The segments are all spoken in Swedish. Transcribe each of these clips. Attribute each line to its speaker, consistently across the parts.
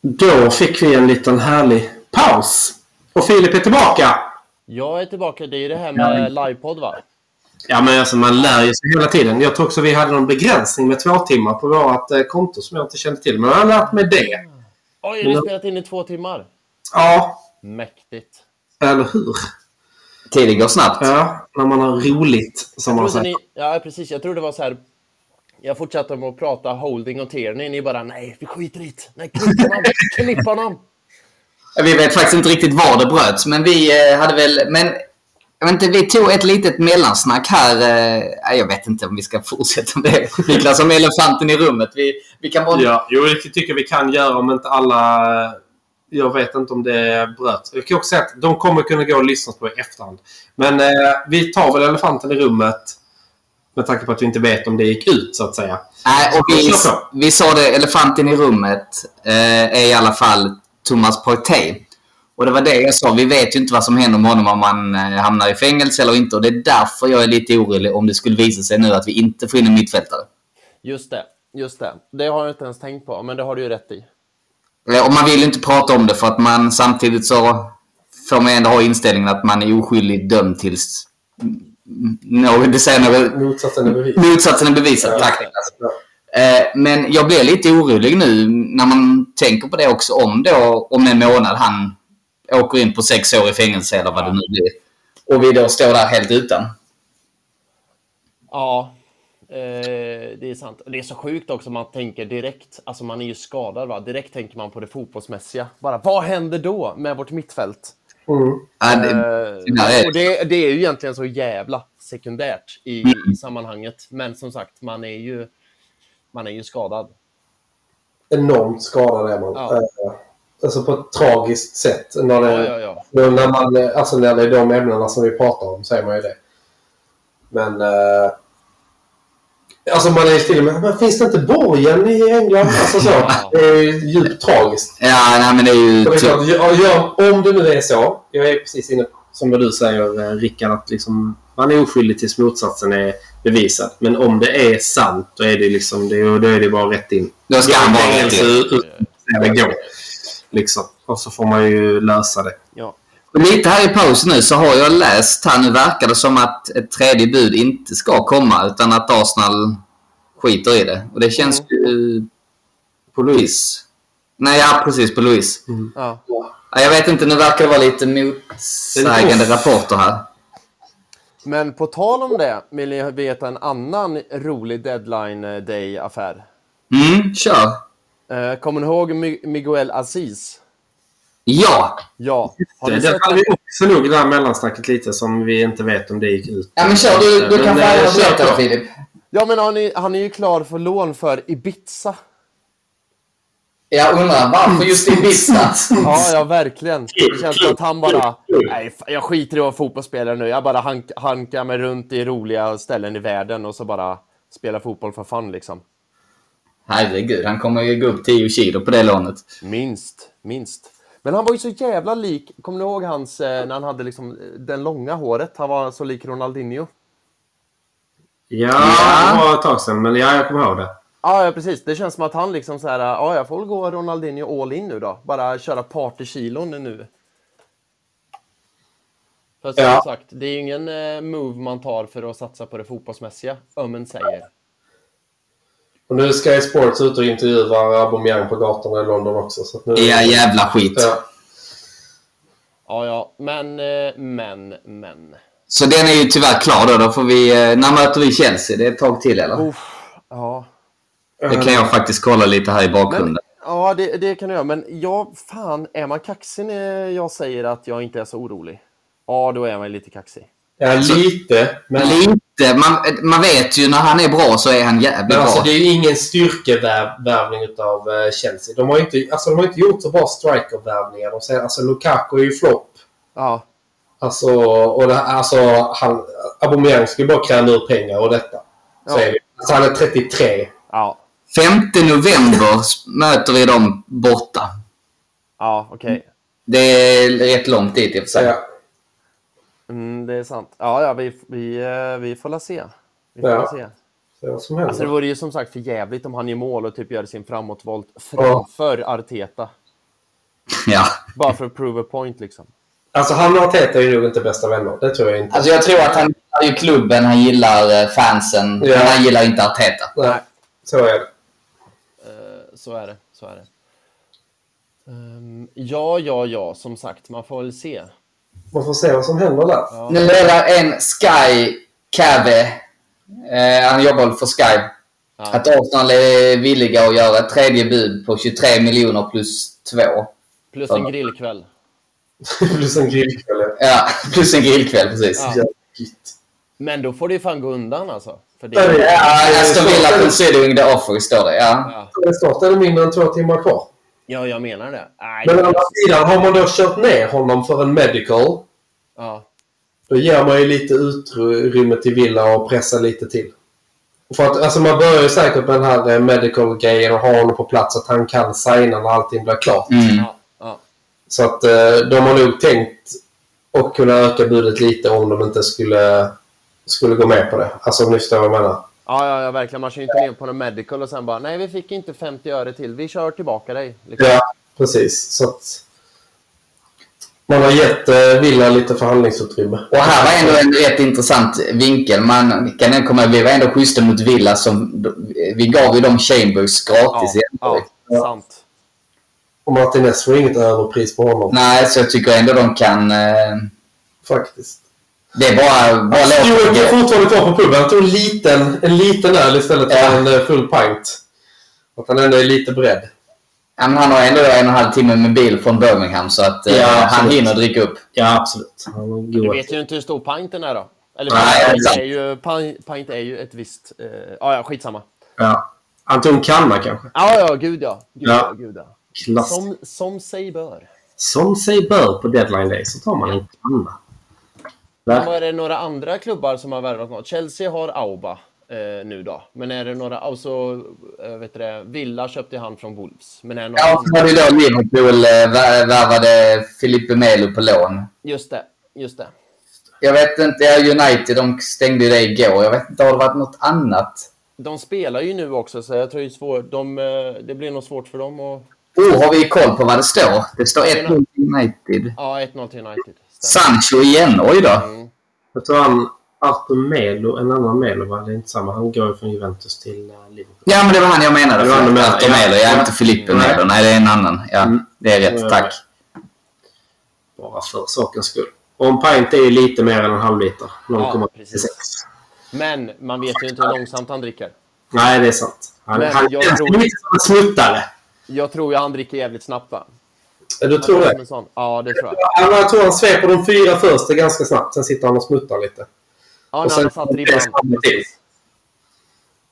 Speaker 1: Då fick vi en liten härlig paus. Och Filip är tillbaka!
Speaker 2: Jag är tillbaka. Det är ju det här med livepodd, va?
Speaker 1: Ja, men alltså, man lär ju sig hela tiden. Jag tror också vi hade någon begränsning med två timmar på vårt eh, konto som jag inte kände till. Men jag har lärt mig det.
Speaker 2: Oj, har ni spelat in i två timmar?
Speaker 1: Ja,
Speaker 2: Mäktigt.
Speaker 1: eller hur?
Speaker 3: Tiden går snabbt.
Speaker 1: Ja, när man har roligt, som man
Speaker 2: Trodde
Speaker 1: säger.
Speaker 2: ni, ja, precis. Jag tror det var så här. Jag fortsatte med att prata holding och tierney. Ni bara nej, vi skiter i det. Nej, klipp honom. klipp honom.
Speaker 3: Vi vet faktiskt inte riktigt var det bröts, men vi eh, hade väl... Men, jag vet inte, vi tog ett litet mellansnack här. eh, nej, Jag vet inte om vi ska fortsätta med det. Niklas som elefanten i rummet. Vi, vi kan bara...
Speaker 1: Ja, jo, det tycker jag vi kan göra om inte alla... eh, Jag vet inte om det bröt. Jag kan också säga att de kommer kunna gå och lyssna på i efterhand. Men eh, vi tar väl elefanten i rummet med tanke på att vi inte vet om det gick ut, så att säga.
Speaker 3: Nej, och vi,
Speaker 1: Så, så.
Speaker 3: vi sa det, elefanten i rummet eh, är i alla fall Thomas Partey. Och det var det jag sa, vi vet ju inte vad som händer med honom om han eh, hamnar i fängelse eller inte. Och det är därför jag är lite orolig om det skulle visa sig nu att vi inte får in en mittfältare.
Speaker 2: Just det, just det. Det har jag inte ens tänkt på, men det har du ju rätt i.
Speaker 3: Eh, Och man vill ju inte prata om det för att man samtidigt så får man ändå ha inställningen att man är oskyldigt dömd tills... No, det säger något.
Speaker 1: Motsatsen Alltså, är bevis.
Speaker 3: Motsatsen är bevisad. Tack Eh, Men jag blir lite orolig nu när man tänker på det också om då om en månad han åker in på sex år i fängelse eller vad det nu blir. Och vi då står där helt utan.
Speaker 2: Ja, eh, det är sant. Det är så sjukt också man tänker direkt. Alltså man är ju skadad va. Direkt tänker man på det fotbollsmässiga. Bara vad händer då med vårt mittfält?
Speaker 1: Mm.
Speaker 3: Ja, det, det där
Speaker 2: Eh,
Speaker 3: är-
Speaker 2: och det, det är ju egentligen så jävla sekundärt i, i sammanhanget. Men som sagt, man är ju, man är ju skadad.
Speaker 1: Enormt skadad är man.
Speaker 2: Ja.
Speaker 1: Eh, Alltså på ett tragiskt sätt. När det,
Speaker 2: Ja, ja, ja.
Speaker 1: Då När, man, eh, alltså när det är de ämnena som vi pratar om säger man ju det. Men... Eh, alltså man är ju till och med... Men finns det inte borgen i England? Alltså så. Det är ju djupt tragiskt.
Speaker 3: Ja, nej, men det är ju...
Speaker 1: Och det är klart, ja, ja, om det nu är så. Jag är precis inne på, som vad du säger eh, Rickard, att liksom, man är oskyldig tills motsatsen är bevisad. Men om det är sant, då är det, liksom, det, då är det bara rätt in.
Speaker 3: Då ska han vara rätt in.
Speaker 1: Det går. Liksom. Och så får man ju lösa det.
Speaker 2: Ja.
Speaker 3: Och Lite här i pausen nu så har jag läst här, nu verkar det som att ett tredje bud inte ska komma utan att Arsenal skiter i det. Och det känns ju...
Speaker 1: På
Speaker 3: Louis. Nej, ja precis, på Louis.
Speaker 1: Mm.
Speaker 2: Ja.
Speaker 3: Ja, Jag vet inte, nu verkar det vara lite motsägande rapporter här.
Speaker 2: Men på tal om det, vill ni veta en annan rolig deadline day-affär?
Speaker 3: Mm, kör.
Speaker 2: Eh, kommer ni ihåg Mi- Miguel Aziz?
Speaker 3: Ja!
Speaker 2: Ja. Har
Speaker 1: Det
Speaker 2: ni
Speaker 1: där
Speaker 2: sett
Speaker 1: hade vi också nog det här mellansnacket lite som vi inte vet om det gick ut.
Speaker 3: Ja men kör, du, du
Speaker 1: Men,
Speaker 3: kan få
Speaker 1: eh,
Speaker 3: höra
Speaker 1: kör
Speaker 3: berätta
Speaker 1: på.
Speaker 3: det Filip.
Speaker 2: Ja, men han är, han är ju klar för lån för Ibiza.
Speaker 3: Jag undrar varför just Ibiza?
Speaker 2: Ja, ja, verkligen. Det känns som att han bara... Nej, fa- jag skiter i att vara fotbollsspelare nu. Jag bara hank, hankar mig runt i roliga ställen i världen och så bara spelar fotboll för fun, liksom.
Speaker 3: Herregud, han kommer ju gå upp 10 kilo på det lånet.
Speaker 2: Minst, minst. Men han var ju så jävla lik... Kommer ni ihåg hans... eh, När han hade liksom eh, den långa håret? Han var så lik Ronaldinho.
Speaker 1: Ja, det var ett tag sedan. Men ja, jag kommer ihåg det.
Speaker 2: Ja, ja, precis. Det känns som att han liksom så här... Ja, jag får väl gå Ronaldinho all in nu då. Bara köra partykilon nu. För som
Speaker 1: Ja.
Speaker 2: sagt, det är ju ingen eh, move man tar för att satsa på det fotbollsmässiga, ömmen säger.
Speaker 1: Och nu ska Sports ut och intervjua Aubameyang på gatorna i London också. Så att nu...
Speaker 3: Ja, jävla skit.
Speaker 1: Ja.
Speaker 2: Ja, ja, men, eh, men, men.
Speaker 3: Så den är ju tyvärr klar då. då får vi, eh, när möter vi Chelsea? Det är ett tag till eller?
Speaker 2: Uff, ja.
Speaker 3: Det kan jag faktiskt kolla lite här i
Speaker 2: Men,
Speaker 3: bakgrunden.
Speaker 2: ja, det, det kan du göra. Men jag, fan, är man kaxig när jag säger att jag inte är så orolig? Ja, då är man lite kaxig.
Speaker 1: Ja, lite. Men,
Speaker 3: Lite. Man, man vet ju när han är bra så är han jävligt
Speaker 1: men alltså,
Speaker 3: bra.
Speaker 1: det är ju ingen styrkevärvning utav eh, Chelsea. De har ju inte, alltså, de har inte gjort så bra strikervärvningar. De säger, alltså, Lukaku är ju flopp.
Speaker 2: Ja,
Speaker 1: Alltså, och det, alltså han, Aubameyang ska ju bara kräma ur pengar och detta.
Speaker 2: Ja.
Speaker 1: Så är det. Alltså, han är 33.
Speaker 2: ja,
Speaker 3: 5 november möter vi dem borta.
Speaker 2: ja, okej.
Speaker 3: Det är rätt långt dit i och för sig.
Speaker 1: Ja.
Speaker 2: Mm, det är sant. Ja, ja, vi, vi, eh, vi får la se. Vi får
Speaker 1: Ja.
Speaker 2: la se.
Speaker 1: Så vad som händer.
Speaker 2: Alltså, det vore ju som sagt för jävligt om han gör mål och typ gör sin framåtvolt framför Arteta.
Speaker 3: Ja.
Speaker 2: Bara för att prove a point liksom.
Speaker 1: Alltså han och Arteta är ju nog inte bästa vänner. Det tror jag inte.
Speaker 3: Alltså jag tror att han gillar ju klubben, han gillar eh, fansen,
Speaker 1: Ja.
Speaker 3: men han gillar inte Arteta.
Speaker 1: Nej, så är det.
Speaker 2: Eh, så är det. Så är det. Ehm, ja, ja, ja, som sagt, man får väl se.
Speaker 1: Man får se vad som händer där.
Speaker 2: Ja.
Speaker 3: Nu är det en Sky Cave. Eh, han jobbar väl för Sky.
Speaker 2: Ja.
Speaker 3: Att Arsenal är villiga att göra ett tredje bud på 23 miljoner plus två.
Speaker 2: Plus en grillkväll.
Speaker 1: Plus en grillkväll.
Speaker 3: Ja, plus en grillkväll precis.
Speaker 2: Ja.
Speaker 1: Jävligt.
Speaker 2: Men då får det ju fan gå undan alltså. För det
Speaker 1: Ja, det är-
Speaker 3: Ja, Aston Villa considering the offer står det. Ja.
Speaker 2: ja.
Speaker 1: Snart är det mindre än två timmar kvar.
Speaker 2: ja, jag menar det. Nej,
Speaker 1: Men å
Speaker 2: det-
Speaker 1: andra sidan, har man då kört ner honom för en medical,
Speaker 2: ja.
Speaker 1: då ger man ju lite utrymme till Villa och pressar lite till. För att, alltså man börjar ju säkert med den här eh, medical-grejen och har honom på plats så att han kan signa när allting blir klart.
Speaker 3: Mm.
Speaker 2: Ja, ja.
Speaker 1: Så att eh, de har nog tänkt att kunna öka budet lite om de inte skulle, skulle gå med på det. Alltså om ni förstår vad jag menar.
Speaker 2: Ja, ja, ja, verkligen. Man kör ju inte ner på någon medical och sen bara nej, vi fick inte 50 öre till. Vi kör tillbaka dig. Liksom.
Speaker 1: Ja, precis. Så att man har gett eh, Villa lite förhandlingsutrymme.
Speaker 3: Och här var ändå en rätt intressant vinkel. Man kan ändå komma, vi var ändå schyssta mot Villa. Som, vi gav ju dem Chambers gratis.
Speaker 2: ja,
Speaker 3: egentligen.
Speaker 2: ja, sant.
Speaker 1: Och Martinez får inget överpris på honom.
Speaker 3: Nej, så jag tycker ändå de kan... eh,
Speaker 1: Faktiskt.
Speaker 3: Det är bara, bara
Speaker 1: Joel är
Speaker 3: låt
Speaker 1: fortfarande kvar på puben. Han tog en liten, en liten öl istället för
Speaker 3: Ja.
Speaker 1: en eh, full pint. Att han ändå är lite beredd.
Speaker 3: Ja, men Han har ändå en och en halv timme med bil från Birmingham så att eh,
Speaker 4: Ja,
Speaker 3: han
Speaker 4: absolut.
Speaker 3: hinner dricka upp.
Speaker 4: Ja, absolut. Han var
Speaker 2: Du
Speaker 4: god.
Speaker 2: vet ju inte hur stor pinten är då. Eller
Speaker 3: Nej,
Speaker 2: pint,
Speaker 3: det är
Speaker 2: är ju, pint, pint är ju ett visst... Eh, ja, ja, skitsamma.
Speaker 4: Ja. Han tog en kanna kanske.
Speaker 2: Ja, ja, gud ja. Gud, ja.
Speaker 4: Ja.
Speaker 2: gud, ja.
Speaker 4: Klass. Som...
Speaker 2: Som, som sig bör.
Speaker 4: sig bör på deadline day så tar man en kanna.
Speaker 2: Men
Speaker 4: Verkligen.
Speaker 2: Var det några andra klubbar som har värvat något? Chelsea har Auba eh, nu då. Men är det några... Och så, eh, vet du det, Villa köpte han från Wolves. Men är det några
Speaker 3: Ja, så var det då Liverpool eh, vär- värvade Filipe Melo på lån.
Speaker 2: Just det, just det.
Speaker 3: Jag vet inte, ja, United de stängde ju det igår. Jag vet inte, har det varit något annat?
Speaker 2: De spelar ju nu också, så jag tror det, är svår, de, eh, det blir nog svårt för dem att...
Speaker 3: Oh, har vi koll på vad det står? Det står 1-0 till United.
Speaker 2: Ja, 1-0 till United. Stämmer.
Speaker 3: Sancho igen, oj då.
Speaker 2: Mm.
Speaker 1: Jag tror han Arthur Melo, en annan Melo va? Det är inte samma. Han går ju från Juventus till eh, Liverpool.
Speaker 3: Ja, men det var han jag menade.
Speaker 1: Det var han du menade,
Speaker 3: Arthur
Speaker 1: ja.
Speaker 3: Melo, jag
Speaker 1: Ja.
Speaker 3: är inte Filipe
Speaker 1: Nej.
Speaker 3: Melo. Nej, det är en annan. Ja,
Speaker 1: Mm.
Speaker 3: det är
Speaker 1: Ja.
Speaker 3: rätt. Tack.
Speaker 1: Bara för sakens skull. Och en pint är ju lite mer än en halvliter. 0,36.
Speaker 2: precis. Men man vet ju inte hur långsamt han dricker.
Speaker 1: Nej, det är sant. Han,
Speaker 2: Men
Speaker 1: han
Speaker 2: jag
Speaker 1: känns
Speaker 2: tror-
Speaker 1: ju lite som en smuttare.
Speaker 2: Jag tror ju han dricker jävligt snabbt va?
Speaker 1: Ja, Du tror
Speaker 2: Han är
Speaker 1: det?
Speaker 2: en sån. Ja, det tror jag.
Speaker 1: Ja, men Jag tror han sveper de fyra första ganska snabbt. Sen sitter han och smuttar lite.
Speaker 2: Ja,
Speaker 1: Och
Speaker 2: när han
Speaker 1: sen
Speaker 2: satt ribban. precis.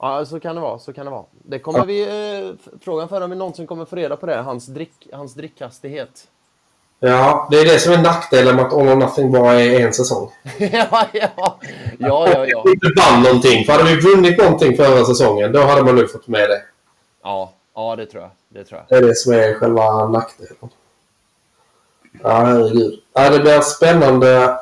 Speaker 2: Ja, så kan det vara. Så kan det vara. Det kommer vi, eh, f- frågan för om vi någonsin kommer få reda på det. Hans, drick, hans drickhastighet.
Speaker 1: Ja, det är det som är nackdelen med att All or Nothing bara är en säsong.
Speaker 2: ja, ja, ja, ja, ja.
Speaker 1: Inte vann någonting. För hade vi vunnit någonting förra säsongen, då hade man nog fått med det.
Speaker 2: Ja, ja det tror jag. Det tror jag.
Speaker 1: Det är det som är själva nackdelen. Ja, herregud. Ja, det blir spännande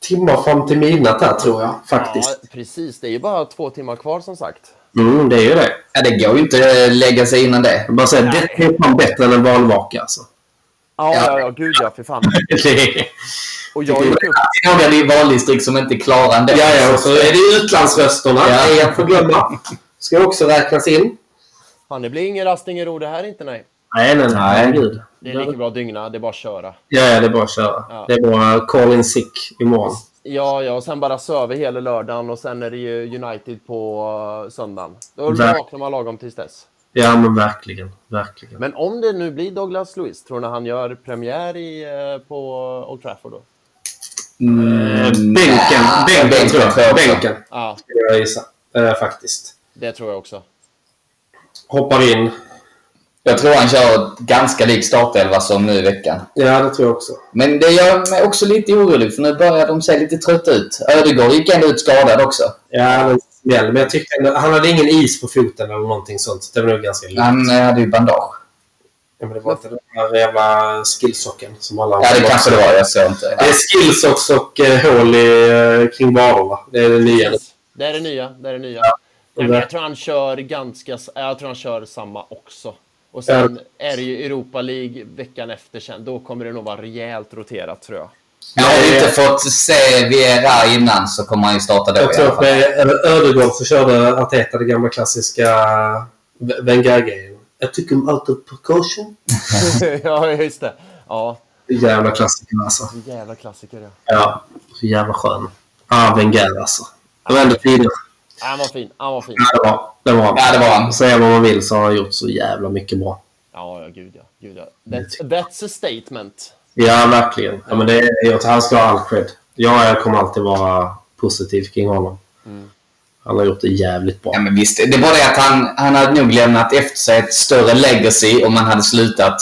Speaker 1: timmar fram till midnatt här, tror jag. Faktiskt.
Speaker 2: Ja, precis. Det är ju bara två timmar kvar som sagt.
Speaker 4: Mm, det är ju det.
Speaker 3: Ja, det går ju inte att eh, lägga sig innan det.
Speaker 4: Jag bara säger, det är fan bättre än en valvaka alltså.
Speaker 2: Ja,
Speaker 3: Ja.
Speaker 2: ja, ja. Gud ja, för fan.
Speaker 4: Det är...
Speaker 2: Och jag gick upp.
Speaker 3: Det är några i valdistrikt som inte klarar ändå.
Speaker 1: Ja, ja, och så är det utlandsrösterna.
Speaker 3: Ja.
Speaker 1: Det jag får glömma. Ska också räknas in.
Speaker 2: Fan, det blir ingen rast, ingen ro det här inte nej.
Speaker 4: Nej, nej, nej. Herregud.
Speaker 2: Det är lika bra att dygna. Det är bara att köra.
Speaker 4: Ja, ja, det är bara att köra.
Speaker 2: Ja.
Speaker 4: Det är bara call in sick imorgon.
Speaker 2: Ja, ja, och sen bara söver hela lördagen och sen är det ju United på eh, söndagen. Då
Speaker 4: Verkligen.
Speaker 2: vaknar man lagom tills dess.
Speaker 4: Ja, men verkligen. Verkligen.
Speaker 2: Men om det nu blir Douglas Lewis, tror ni han gör premiär i, eh, på Old Trafford då?
Speaker 1: Mm.
Speaker 4: Eh, Bänken, bänken tror jag. Bänken.
Speaker 2: Ja,
Speaker 1: skulle jag gissa. Eh, faktiskt.
Speaker 2: det tror jag också.
Speaker 1: Hoppar in.
Speaker 3: Jag tror han kör ganska lik startelva som nu i veckan.
Speaker 1: Ja, det tror jag också.
Speaker 3: Men det gör mig också lite orolig för nu börjar de se lite trötta ut. Ödegård gick ändå ut skadad också.
Speaker 1: Ja, han är en smäll. Men jag tyckte ändå, han hade ingen is på foten eller någonting sånt. Så det var nog ganska lugnt.
Speaker 3: Han eh, hade ju bandage.
Speaker 1: Ja, men det var inte den här jävla skillsocken som alla
Speaker 3: Ja, det kanske det var. Jag såg inte.
Speaker 1: Det är skillsocks och eh, hål i, eh, kring varorna. Det är det nya.
Speaker 2: Yes. Det är det nya. Det är det nya. Nej, men jag tror han kör ganska... s- Jag tror han kör samma också. Och sen är det ju Europa League veckan efter sen. Då kommer det nog vara rejält roterat tror jag.
Speaker 3: Jag har vi inte fått se Viera innan så kommer han ju starta då
Speaker 1: Jag tror att med eh, Ödegård så körde Arteta det gamla klassiska Wenger-grejen. Jag tycker om out of precaution.
Speaker 2: ja, just det. Ja,
Speaker 1: Jävla klassiker alltså.
Speaker 2: jävla klassiker. Ja.
Speaker 1: Ja, så jävla skön. Ah, Wenger alltså. Det var ändå tidigare.
Speaker 2: Han var fin. Han var fin.
Speaker 1: Ja, det var, det var han.
Speaker 3: Ja, det var han.
Speaker 1: Säga vad man vill så har han gjort så jävla mycket bra.
Speaker 2: Ja, ja, gud ja. Gud, ja. That's, that's a statement.
Speaker 1: Ja, verkligen. Ja, men det är, jag, han ska ha all cred. Jag, jag kommer alltid vara positiv kring honom.
Speaker 3: Mm.
Speaker 1: Han har gjort det jävligt bra.
Speaker 3: Ja, men visst. Det var det att han, han hade nog lämnat efter sig ett större legacy om han hade slutat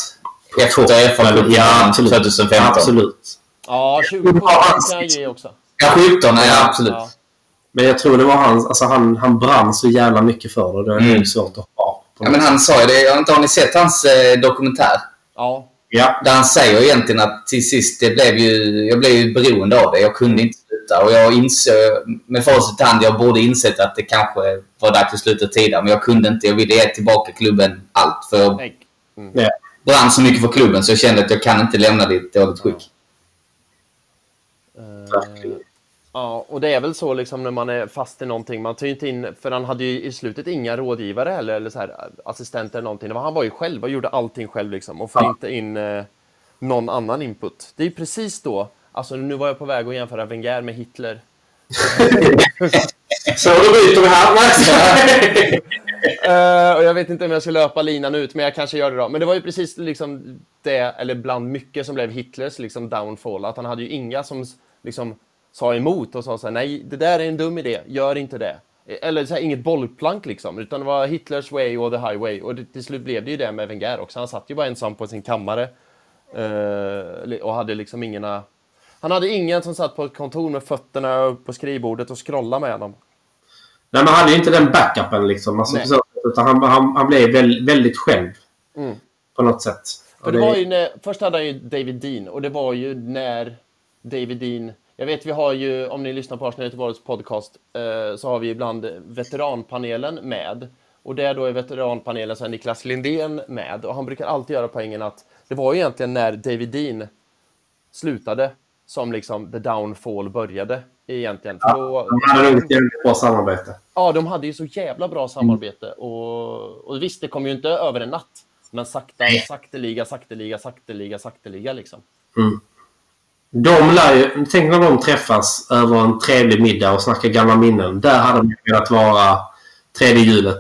Speaker 3: efter E FA-cupen
Speaker 1: Ja, absolut.
Speaker 3: 2015.
Speaker 1: Absolut.
Speaker 2: Ja, 20 poäng kan jag ge också.
Speaker 3: Ja, 17. Ja, absolut.
Speaker 2: Ja.
Speaker 1: Men jag tror det var hans... Alltså han, han brann så jävla mycket för det. Det är
Speaker 3: Mm.
Speaker 1: nog svårt att ha.
Speaker 3: Ja, men han sa ju det. Jag vet inte, har ni sett hans eh, dokumentär?
Speaker 2: Ja,
Speaker 1: ja.
Speaker 3: Där han säger egentligen att till sist, det blev ju, jag blev ju beroende av det. Jag
Speaker 1: Mm.
Speaker 3: kunde inte sluta. Och jag insåg, med facit i hand, jag borde insett att det kanske var dags att sluta tidigare. Men jag kunde inte. Jag ville ge tillbaka klubben allt. För jag
Speaker 2: nej.
Speaker 1: Ja.
Speaker 3: brann så mycket för klubben så jag kände att jag kan inte lämna det i ett dåligt skick.
Speaker 2: Eh, ja, och det är väl så liksom när man är fast i någonting. Man tar ju inte in, för han hade ju i slutet inga rådgivare eller, eller så här, eh, assistenter eller någonting. Det var- Han var ju själv och gjorde allting själv liksom och får inte in eh, någon annan input. Det är ju precis då, alltså nu var jag på väg att jämföra Wenger med Hitler.
Speaker 1: Så då byter vi här. Nej,
Speaker 2: Eh, och jag vet inte om jag ska löpa linan ut, men jag kanske gör det då. Men det var ju precis liksom det, eller bland mycket, som blev Hitlers liksom downfall. Att han hade ju inga som s- liksom sa emot och sa så här, nej, det där är en dum idé, gör inte det. Eh, Eller så här, inget bollplank liksom, utan det var Hitlers way och the highway. Och det, till slut blev det ju det med Wenger också. Han satt ju bara ensam på sin kammare eh, li- och hade liksom ingen... Han hade ingen som satt på ett kontor med fötterna upp på skrivbordet och scrollade med honom.
Speaker 1: men han hade ju inte den backupen liksom. Alltså,
Speaker 2: Nej.
Speaker 1: så, utan han, han, han blev väl, väldigt själv. På något sätt.
Speaker 2: Mm. För
Speaker 1: Och
Speaker 2: det
Speaker 1: det-
Speaker 2: var ju när, först hade han ju David Dean och det var ju när David Dean, jag vet vi har ju, om ni lyssnar på Arsenal Göteborgs podcast, eh, så har vi ibland veteranpanelen med. Och där då är veteranpanelen så är Niklas Lindén med och han brukar alltid göra poängen att det var ju egentligen när David Dean slutade som liksom the downfall började egentligen. För då,
Speaker 1: Han hade nog ett jävligt bra samarbete.
Speaker 2: Ja, de hade ju så jävla bra samarbete. Och, och visst, det kom ju inte över en natt. Men sakta, sakteliga, sakteliga, sakteliga, sakteliga liksom.
Speaker 1: De lär ju, tänk när de träffas över en trevlig middag och snackar gamla minnen. Där hade man velat vara tredje hjulet.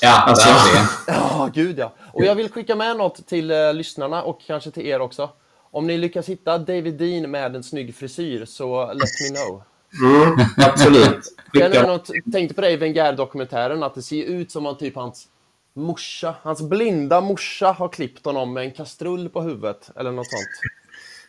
Speaker 3: Ja,
Speaker 1: Alltså-
Speaker 3: verkligen.
Speaker 2: Ja, gud ja. Och jag vill skicka med något till eh, lyssnarna och kanske till er också. Om ni lyckas hitta David Dean med en snygg frisyr så let me know.
Speaker 1: Mm, absolut.
Speaker 2: Sen är det
Speaker 1: Skicka.
Speaker 2: något, tänkte på det i Wenger-dokumentären, att det ser ut som att typ hans morsa, hans blinda morsa har klippt honom med en kastrull på huvudet. Eller något sånt.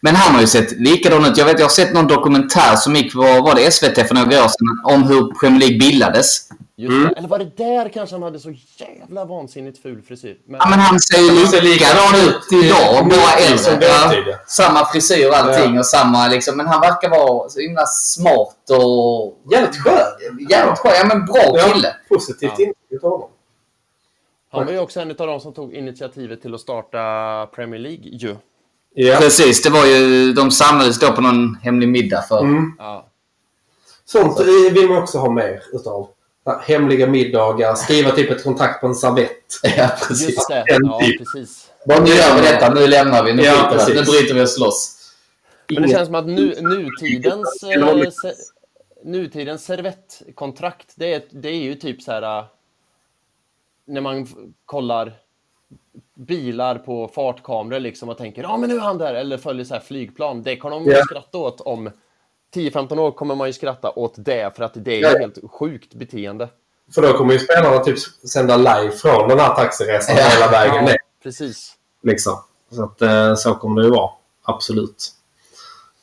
Speaker 3: Men han har ju sett likadan ut. Jag vet, jag har sett någon dokumentär som gick på, var det SVT för några år sedan, om hur Premier League bildades.
Speaker 2: Just det. Eller var det där kanske han hade så jävla vansinnigt ful frisyr? Men-
Speaker 3: Ja, men han ser ju
Speaker 1: ser
Speaker 3: likadan
Speaker 1: likadan
Speaker 3: ut idag,
Speaker 1: Mm,
Speaker 3: bara
Speaker 1: som
Speaker 3: äldre. Ja,
Speaker 1: dåtid, ja.
Speaker 3: samma frisyr och allting och samma liksom. Men han verkar vara så himla smart och...
Speaker 1: Jävligt skön.
Speaker 3: Jävligt skön. Ja, men bra kille.
Speaker 1: Positivt intryck av honom.
Speaker 2: Han var ju också en av de som tog initiativet till att starta Premier League ju.
Speaker 1: Ja.
Speaker 3: Precis, det var ju... De samlades då på någon hemlig middag för...
Speaker 1: Mm.
Speaker 2: Ja.
Speaker 1: Sånt eh, vill man också ha mer utav. Ja, Hemliga middagar, skriva typ ett kontrakt på en servett.
Speaker 3: Ja, precis.
Speaker 2: Just det.
Speaker 1: En
Speaker 2: Ja,
Speaker 1: typ.
Speaker 2: precis.
Speaker 3: Bara, nu gör vi detta, nu lämnar vi, nu,
Speaker 1: Ja,
Speaker 3: skiter vi i det. nu
Speaker 1: precis.
Speaker 3: bryter vi och slåss.
Speaker 2: Men det känns som att nu, nutidens, eh, se, nutidens servettkontrakt, det är, det är ju typ så här... eh, När man f- kollar bilar på fartkameror liksom och tänker ja men nu är han där eller följer så här flygplan. Det kommer man ju
Speaker 1: Ja.
Speaker 2: skratta åt om 10-15 år kommer man ju skratta åt det för att det är
Speaker 1: Ja,
Speaker 2: ju
Speaker 1: ja.
Speaker 2: helt sjukt beteende.
Speaker 1: För då kommer ju spelarna typ sända live från den här taxiresan
Speaker 3: Ja.
Speaker 1: hela vägen ner.
Speaker 2: precis.
Speaker 1: Liksom. Så, att, eh, så kommer det ju vara. Absolut.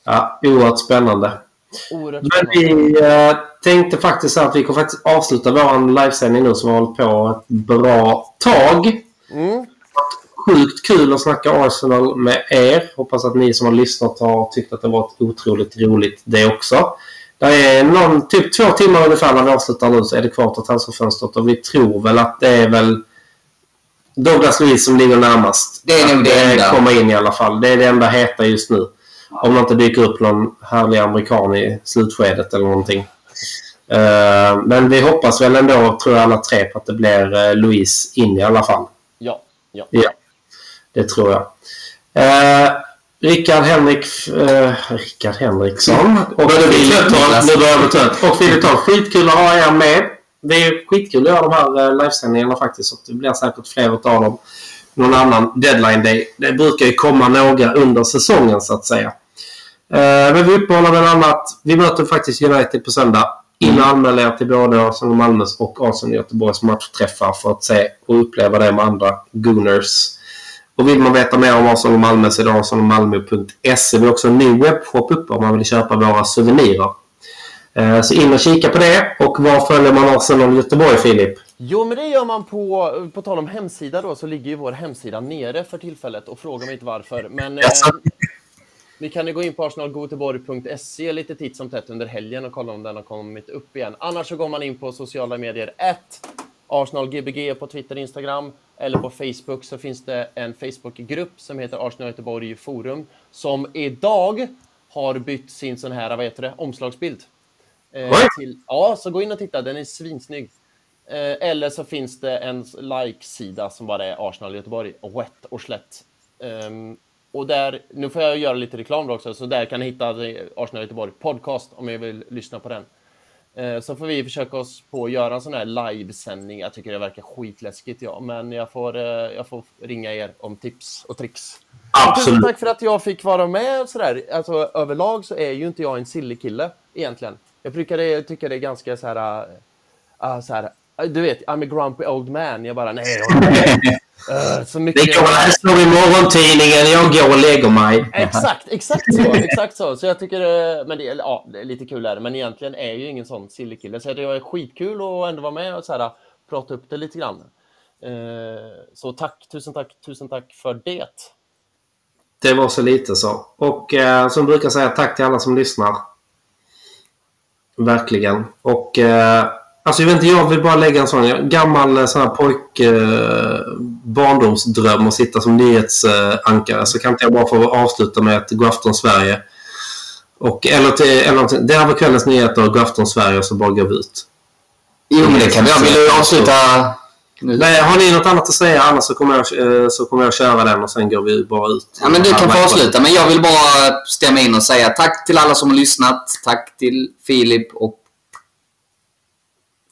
Speaker 1: Ja, oerhört spännande.
Speaker 2: Oerhört
Speaker 1: Men
Speaker 2: spännande.
Speaker 1: vi eh, tänkte faktiskt så att vi kommer faktiskt avsluta vår livesändning nu som har hållit på ett bra tag.
Speaker 2: Mm.
Speaker 1: Sjukt kul att snacka Arsenal med er. Hoppas att ni som har lyssnat har tyckt att det varit otroligt roligt det också. Det är någon, typ två timmar ungefär när vi avslutar nu så är det kvar till transferfönstret och vi tror väl att det är väl Douglas Luiz som ligger närmast.
Speaker 3: Det är nog
Speaker 1: Att
Speaker 3: det enda.
Speaker 1: kommer in i alla fall. Det är det enda heta just nu. Om det inte dyker upp någon härlig amerikan i slutskedet eller någonting. Eh, men vi hoppas väl ändå, tror jag alla tre, på att det blir uh, Luiz in i alla fall.
Speaker 2: Ja, ja.
Speaker 1: Ja, det tror jag. Eh, Rickard Henrik... Eh, Rickard Henriksson. Och
Speaker 3: Börjar bli
Speaker 1: Filip
Speaker 3: trött,
Speaker 1: Dahl.
Speaker 3: Niklas.
Speaker 1: Nu börjar jag bli trött. Och Filip Dahl. Skitkul att ha er med. Det är skitkul att göra de här eh, livesändningarna faktiskt. Så att det blir säkert fler av dem. Någon annan deadline day. Det brukar ju komma några under säsongen så att säga. Eh, Men vi uppehåller bland annat. Vi möter faktiskt United på söndag. In och anmäl er till både Arsenal Malmös och Arsenal Göteborgs matchträffar för att se och uppleva det med andra Gooners. Och vill man veta mer om Arsenal Malmö så är det arsenalmalmo.se. Vi har också en ny webbshop uppe om man vill köpa våra souvenirer. Eh, Så in och kika på det. Och var följer man Arsenal Göteborg, Filip?
Speaker 2: Jo, men det gör man på, på tal om hemsida då, så ligger ju vår hemsida nere för tillfället och fråga mig inte varför. Men eh,
Speaker 1: Jaså?
Speaker 2: vi kan ju gå in på arsenalgoteborg.se lite titt som tätt under helgen och kolla om den har kommit upp igen. Annars så går man in på sociala medier 1 ArsenalGBG på Twitter, Instagram eller på Facebook så finns det en Facebookgrupp som heter Arsenal Göteborg Forum som idag har bytt sin sån här, vad heter det, omslagsbild. Eh,
Speaker 1: Oj.
Speaker 2: till, ja, så gå in och titta. Den är svinsnygg. Eh, eller så finns det en like-sida som bara är Arsenal Göteborg, wet och slätt. Ehm, och där, nu får jag göra lite reklam då också, så där kan ni hitta eh, Arsenal Göteborg podcast om ni vill lyssna på den. Eh, så får vi försöka oss på att göra en sån här livesändning. Jag tycker det verkar skitläskigt, ja, men jag får, eh, jag får ringa er om tips och tricks. Tusen tack för att jag fick vara med och sådär. Alltså, överlag så är ju inte jag en silly kille egentligen. Jag brukar jag tycker det är ganska så här, äh, så här äh, du vet, I'm a grumpy old man. Jag bara, nej, jag håller med. Äh, så mycket.
Speaker 1: Det går här står i morgontidningen. Jag går och lägger mig.
Speaker 2: Exakt, exakt så, exakt så. Så jag tycker, eh, men det, eller, ja, det är lite kul är det, men egentligen är jag ju ingen sån silly kille. Så jag tycker det är skitkul att ändå vara med och så här, äh, prata upp det lite grann. Eh, Så tack, tusen tack, tusen tack för det.
Speaker 1: Det var så lite så. Och eh, som brukar säga, tack till alla som lyssnar. Verkligen. Och eh, alltså jag vet inte, jag vill bara lägga en sån jag- gammal eh, sån här pojk eh, barndomsdröm att sitta som nyhetsankare. Eh, ankare. så kan inte jag bara få avsluta med att gå afton Sverige. Och, eller till, eller någonting. det här var kvällens nyheter, gå afton Sverige och så bara går vi ut.
Speaker 3: Jo, men det kan vi göra. Vill du avsluta nu?
Speaker 1: Nej, har ni något annat att säga annars så kommer jag, eh, så kommer jag köra den och sen går vi bara ut.
Speaker 3: Ja, men du kan få avsluta, men jag vill bara stämma in och säga tack till alla som har lyssnat. Tack till Filip och...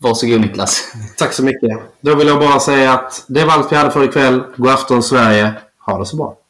Speaker 3: Varsågod Niklas.
Speaker 1: Tack så mycket. Då vill jag bara säga att det var allt vi hade för ikväll. God afton Sverige. Ha det så bra.